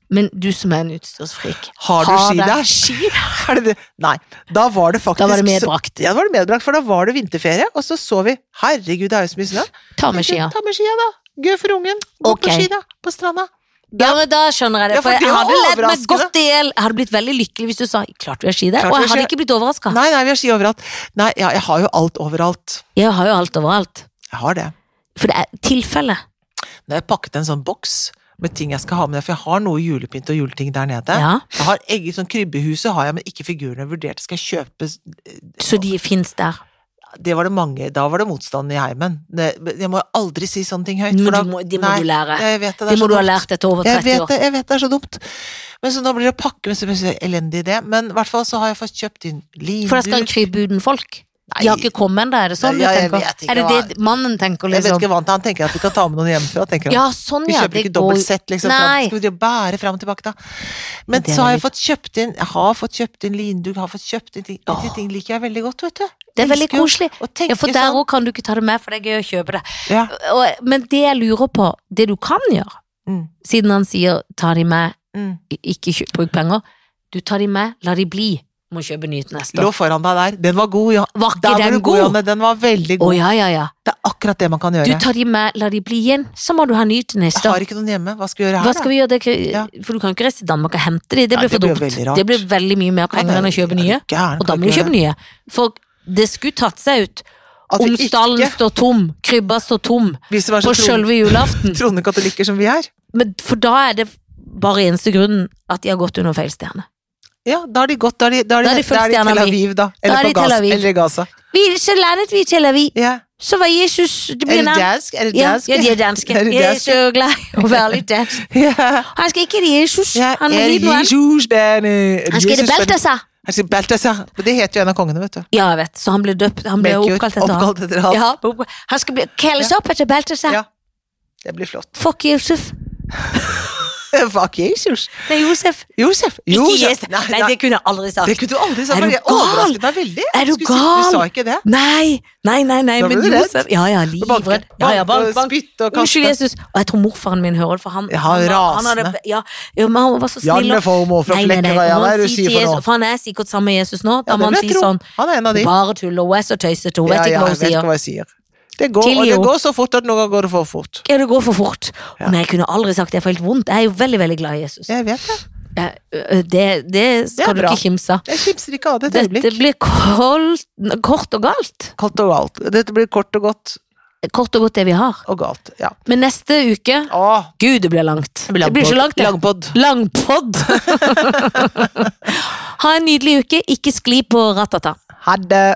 [SPEAKER 2] Men du som er en utstyrsfrik,
[SPEAKER 1] Har du
[SPEAKER 2] Har
[SPEAKER 1] ski
[SPEAKER 2] dere
[SPEAKER 1] der? Ski? Er det det? Nei, da var det faktisk
[SPEAKER 2] da var det mer
[SPEAKER 1] så-
[SPEAKER 2] brakt.
[SPEAKER 1] Ja, da var det medbrakt, for da var det vinterferie, og så så vi Herregud, det er jo så mye snø.
[SPEAKER 2] Ta med skia.
[SPEAKER 1] Ta med skia, da. Gøy for ungen. Gå
[SPEAKER 2] Ok.
[SPEAKER 1] på ski, da. På stranda.
[SPEAKER 2] Ja, men da skjønner jeg det,
[SPEAKER 1] Ja,
[SPEAKER 2] for
[SPEAKER 1] for det
[SPEAKER 2] jeg
[SPEAKER 1] var
[SPEAKER 2] hadde ledd meg
[SPEAKER 1] overraskende.
[SPEAKER 2] godt i hjel. Jeg hadde blitt veldig lykkelig hvis du sa 'klart vi har ski der',
[SPEAKER 1] Klart
[SPEAKER 2] og
[SPEAKER 1] vi
[SPEAKER 2] jeg
[SPEAKER 1] har
[SPEAKER 2] hadde
[SPEAKER 1] ski.
[SPEAKER 2] ikke blitt overraska.
[SPEAKER 1] Nei, nei, vi har ski overalt. Nei, ja, jeg har jo alt overalt.
[SPEAKER 2] Jeg har jo alt overalt.
[SPEAKER 1] Jeg har det.
[SPEAKER 2] For det er tilfelle.
[SPEAKER 1] Nå har jeg pakket en sånn boks med ting jeg skal ha med deg, for jeg har noe julepynt og juleting der nede.
[SPEAKER 2] Ja.
[SPEAKER 1] Jeg har eget sånn krybbehuset, har jeg, men ikke figurene vurdert. Skal jeg kjøpe
[SPEAKER 2] Så de fins der.
[SPEAKER 1] Det var det mange, da var det motstand i heimen. Det, jeg må aldri si sånne ting høyt.
[SPEAKER 2] Men
[SPEAKER 1] for da-
[SPEAKER 2] du må, de må
[SPEAKER 1] Nei,
[SPEAKER 2] du lære.
[SPEAKER 1] Jeg vet det, det
[SPEAKER 2] Det
[SPEAKER 1] er
[SPEAKER 2] må
[SPEAKER 1] så
[SPEAKER 2] du ha
[SPEAKER 1] dumt.
[SPEAKER 2] lært etter over
[SPEAKER 1] Jeg
[SPEAKER 2] 30
[SPEAKER 1] vet
[SPEAKER 2] år.
[SPEAKER 1] det, jeg vet det er så dumt. Men så nå blir det å pakke med så mye elendig idé. Men i hvert fall så har jeg fått kjøpt inn
[SPEAKER 2] For da skal han
[SPEAKER 1] linduk.
[SPEAKER 2] krype uten folk. De har ikke kommet ennå, er det sånn du
[SPEAKER 1] Ja, jeg
[SPEAKER 2] tenker?
[SPEAKER 1] vet ikke
[SPEAKER 2] Er det
[SPEAKER 1] hva-
[SPEAKER 2] det mannen
[SPEAKER 1] Jeg
[SPEAKER 2] tenker,
[SPEAKER 1] vet
[SPEAKER 2] liksom?
[SPEAKER 1] ikke hva han han tenker at vi kan ta med noen hjemmefra, tenker han.
[SPEAKER 2] Ja, sånn
[SPEAKER 1] Vi
[SPEAKER 2] ja.
[SPEAKER 1] kjøper
[SPEAKER 2] Det
[SPEAKER 1] ikke
[SPEAKER 2] går
[SPEAKER 1] dobbelt
[SPEAKER 2] jo
[SPEAKER 1] sett, liksom. Fram,
[SPEAKER 2] Nei.
[SPEAKER 1] skal vi drive og bære fram og tilbake, da. Men
[SPEAKER 2] Det er
[SPEAKER 1] så har
[SPEAKER 2] veldig
[SPEAKER 1] jeg fått kjøpt inn Jeg har fått kjøpt inn linduk, har fått kjøpt inn ting.
[SPEAKER 2] Åh.
[SPEAKER 1] De ting liker jeg veldig godt, vet du.
[SPEAKER 2] Det er
[SPEAKER 1] Elsker
[SPEAKER 2] veldig
[SPEAKER 1] jo
[SPEAKER 2] koselig.
[SPEAKER 1] Å tenke
[SPEAKER 2] Ja, for der òg kan du ikke ta det med, for det er gøy å kjøpe det.
[SPEAKER 1] sånn. Ja.
[SPEAKER 2] Og, men det jeg lurer på, det du kan gjøre,
[SPEAKER 1] Mm.
[SPEAKER 2] siden han sier ta de med,
[SPEAKER 1] Mm.
[SPEAKER 2] i- ikke kjø- bruk penger, du tar de med, la de bli, må kjøpe nytt neste
[SPEAKER 1] Lå
[SPEAKER 2] år.
[SPEAKER 1] foran deg der. Den var god, ja.
[SPEAKER 2] Var ikke
[SPEAKER 1] Der var
[SPEAKER 2] den
[SPEAKER 1] du god,
[SPEAKER 2] god?
[SPEAKER 1] Janne. Den var veldig
[SPEAKER 2] Å
[SPEAKER 1] god.
[SPEAKER 2] ja, ja, ja.
[SPEAKER 1] Det er akkurat det man kan
[SPEAKER 2] Du
[SPEAKER 1] gjøre.
[SPEAKER 2] tar de med, la de bli igjen, så må du ha ny til
[SPEAKER 1] Jeg
[SPEAKER 2] neste år.
[SPEAKER 1] har ikke noen hjemme. Hva skal vi gjøre her,
[SPEAKER 2] Hva skal vi gjøre? Det, kri-
[SPEAKER 1] Ja.
[SPEAKER 2] for du kan ikke reise til Danmark og hente de, det
[SPEAKER 1] Nei,
[SPEAKER 2] blir
[SPEAKER 1] det
[SPEAKER 2] for
[SPEAKER 1] blir jo
[SPEAKER 2] dumt.
[SPEAKER 1] veldig rart.
[SPEAKER 2] Det blir veldig mye mer
[SPEAKER 1] Kan
[SPEAKER 2] penger enn å
[SPEAKER 1] jeg-
[SPEAKER 2] kjøpe
[SPEAKER 1] er du
[SPEAKER 2] nye.
[SPEAKER 1] gæren?
[SPEAKER 2] Og da
[SPEAKER 1] Kan jeg
[SPEAKER 2] må du
[SPEAKER 1] ikke
[SPEAKER 2] kjøpe
[SPEAKER 1] gjøre
[SPEAKER 2] nye. For det skulle tatt seg ut
[SPEAKER 1] det? At vi
[SPEAKER 2] om stallen
[SPEAKER 1] ikke-
[SPEAKER 2] står tom, krybba står tom
[SPEAKER 1] Vi som er
[SPEAKER 2] på
[SPEAKER 1] så troende,
[SPEAKER 2] sjølve julaften.
[SPEAKER 1] troende katolikker som vi er.
[SPEAKER 2] Men for da er det bare eneste grunnen at de har gått under feil stjerne.
[SPEAKER 1] Ja, da er de godt. Da er de, da er de, da er
[SPEAKER 2] Da er de
[SPEAKER 1] de i
[SPEAKER 2] fullstjerna
[SPEAKER 1] Tel
[SPEAKER 2] mi.
[SPEAKER 1] Aviv, da. Eller,
[SPEAKER 2] er de i
[SPEAKER 1] på
[SPEAKER 2] Tel
[SPEAKER 1] Gaza,
[SPEAKER 2] Aviv.
[SPEAKER 1] eller i Gaza.
[SPEAKER 2] Vi så landet vi til Aviv,
[SPEAKER 1] Ja.
[SPEAKER 2] så var Jesus Det blir
[SPEAKER 1] Er det
[SPEAKER 2] navn.
[SPEAKER 1] dansk? Er det
[SPEAKER 2] Ja,
[SPEAKER 1] dansk?
[SPEAKER 2] ja, de er danske.
[SPEAKER 1] Er de
[SPEAKER 2] Jeg er
[SPEAKER 1] danske?
[SPEAKER 2] så glad i å være litt dansk.
[SPEAKER 1] Ja.
[SPEAKER 2] Han skal ikke til Jesus,
[SPEAKER 1] Ja,
[SPEAKER 2] han må
[SPEAKER 1] er
[SPEAKER 2] litt noe annet.
[SPEAKER 1] Jesusbarnet? Er
[SPEAKER 2] Han skal til
[SPEAKER 1] Jesusbarnet?
[SPEAKER 2] Balthazar.
[SPEAKER 1] Han skal til Balthazar. Men Det heter jo en av kongene, vet du.
[SPEAKER 2] Ja, jeg vet, så han ble døpt, han ble
[SPEAKER 1] Melchior.
[SPEAKER 2] oppkalt etter han.
[SPEAKER 1] Oppkalt etter han.
[SPEAKER 2] Ja, opp- han skal bli, kalles opp etter Balthazar.
[SPEAKER 1] Ja. Det blir flott.
[SPEAKER 2] Fuck Josef.
[SPEAKER 1] Fuck Jesus.
[SPEAKER 2] Nei, Josef.
[SPEAKER 1] Josef.
[SPEAKER 2] Ikke
[SPEAKER 1] Josef.
[SPEAKER 2] Jesus. Nei, det kunne jeg aldri
[SPEAKER 1] det
[SPEAKER 2] sagt.
[SPEAKER 1] kunne du aldri
[SPEAKER 2] Er
[SPEAKER 1] sagt.
[SPEAKER 2] du
[SPEAKER 1] men Jeg
[SPEAKER 2] gal?
[SPEAKER 1] overrasket meg veldig.
[SPEAKER 2] Er du
[SPEAKER 1] Skulle si-
[SPEAKER 2] gal?
[SPEAKER 1] Du sa ikke det.
[SPEAKER 2] Nei, nei, nei, nei
[SPEAKER 1] Da ble
[SPEAKER 2] men
[SPEAKER 1] du redd.
[SPEAKER 2] Josef Ja, ja,
[SPEAKER 1] Du banket.
[SPEAKER 2] livredd. Ja, ja, bank,
[SPEAKER 1] Banket og
[SPEAKER 2] bank.
[SPEAKER 1] spytte og
[SPEAKER 2] Unnskyld,
[SPEAKER 1] kaste.
[SPEAKER 2] Jesus. Og jeg tror morfaren min hører det, for han,
[SPEAKER 1] Ja,
[SPEAKER 2] han, var- han
[SPEAKER 1] rasende.
[SPEAKER 2] hadde- ja, ja, men han var så snill.
[SPEAKER 1] Janne
[SPEAKER 2] og-
[SPEAKER 1] Formoe fra
[SPEAKER 2] Nei, nei, nei,
[SPEAKER 1] Flekkerøy, ja,
[SPEAKER 2] om
[SPEAKER 1] hva
[SPEAKER 2] han
[SPEAKER 1] er det du sier
[SPEAKER 2] sier til
[SPEAKER 1] for noe?
[SPEAKER 2] Jesus- For han er sikkert sammen med Jesus nå. Da
[SPEAKER 1] Ja,
[SPEAKER 2] må
[SPEAKER 1] det
[SPEAKER 2] han
[SPEAKER 1] vil
[SPEAKER 2] si
[SPEAKER 1] jeg tro.
[SPEAKER 2] sånn
[SPEAKER 1] Han er en av de.
[SPEAKER 2] Bare tull, og hun er så tøysete, hun vet
[SPEAKER 1] Ja,
[SPEAKER 2] ikke
[SPEAKER 1] ja,
[SPEAKER 2] hva hun
[SPEAKER 1] jeg vet
[SPEAKER 2] sier.
[SPEAKER 1] ikke hva jeg sier. Det går,
[SPEAKER 2] Til
[SPEAKER 1] og det
[SPEAKER 2] jo.
[SPEAKER 1] går så fort at noen ganger går det for fort.
[SPEAKER 2] Ja, det går for fort.
[SPEAKER 1] Ja.
[SPEAKER 2] Nei, jeg kunne aldri sagt det, for helt vondt. Jeg er jo veldig, veldig glad i Jesus.
[SPEAKER 1] Jeg vet det.
[SPEAKER 2] Eh, eh, Det, det skal
[SPEAKER 1] Det er
[SPEAKER 2] du
[SPEAKER 1] bra.
[SPEAKER 2] ikke kimse av.
[SPEAKER 1] Jeg kimser ikke av det et
[SPEAKER 2] Dette
[SPEAKER 1] øyeblikk.
[SPEAKER 2] blir kolt, kort og galt.
[SPEAKER 1] Kort og galt. Dette blir kort og godt
[SPEAKER 2] Kort og godt det vi har.
[SPEAKER 1] og galt. Ja.
[SPEAKER 2] Men neste uke
[SPEAKER 1] Åh,
[SPEAKER 2] Gud, det blir langt. Det blir ikke langt, det.
[SPEAKER 1] Langpod.
[SPEAKER 2] Langpodd! ha en nydelig uke. Ikke skli på ratata.
[SPEAKER 1] Ha det.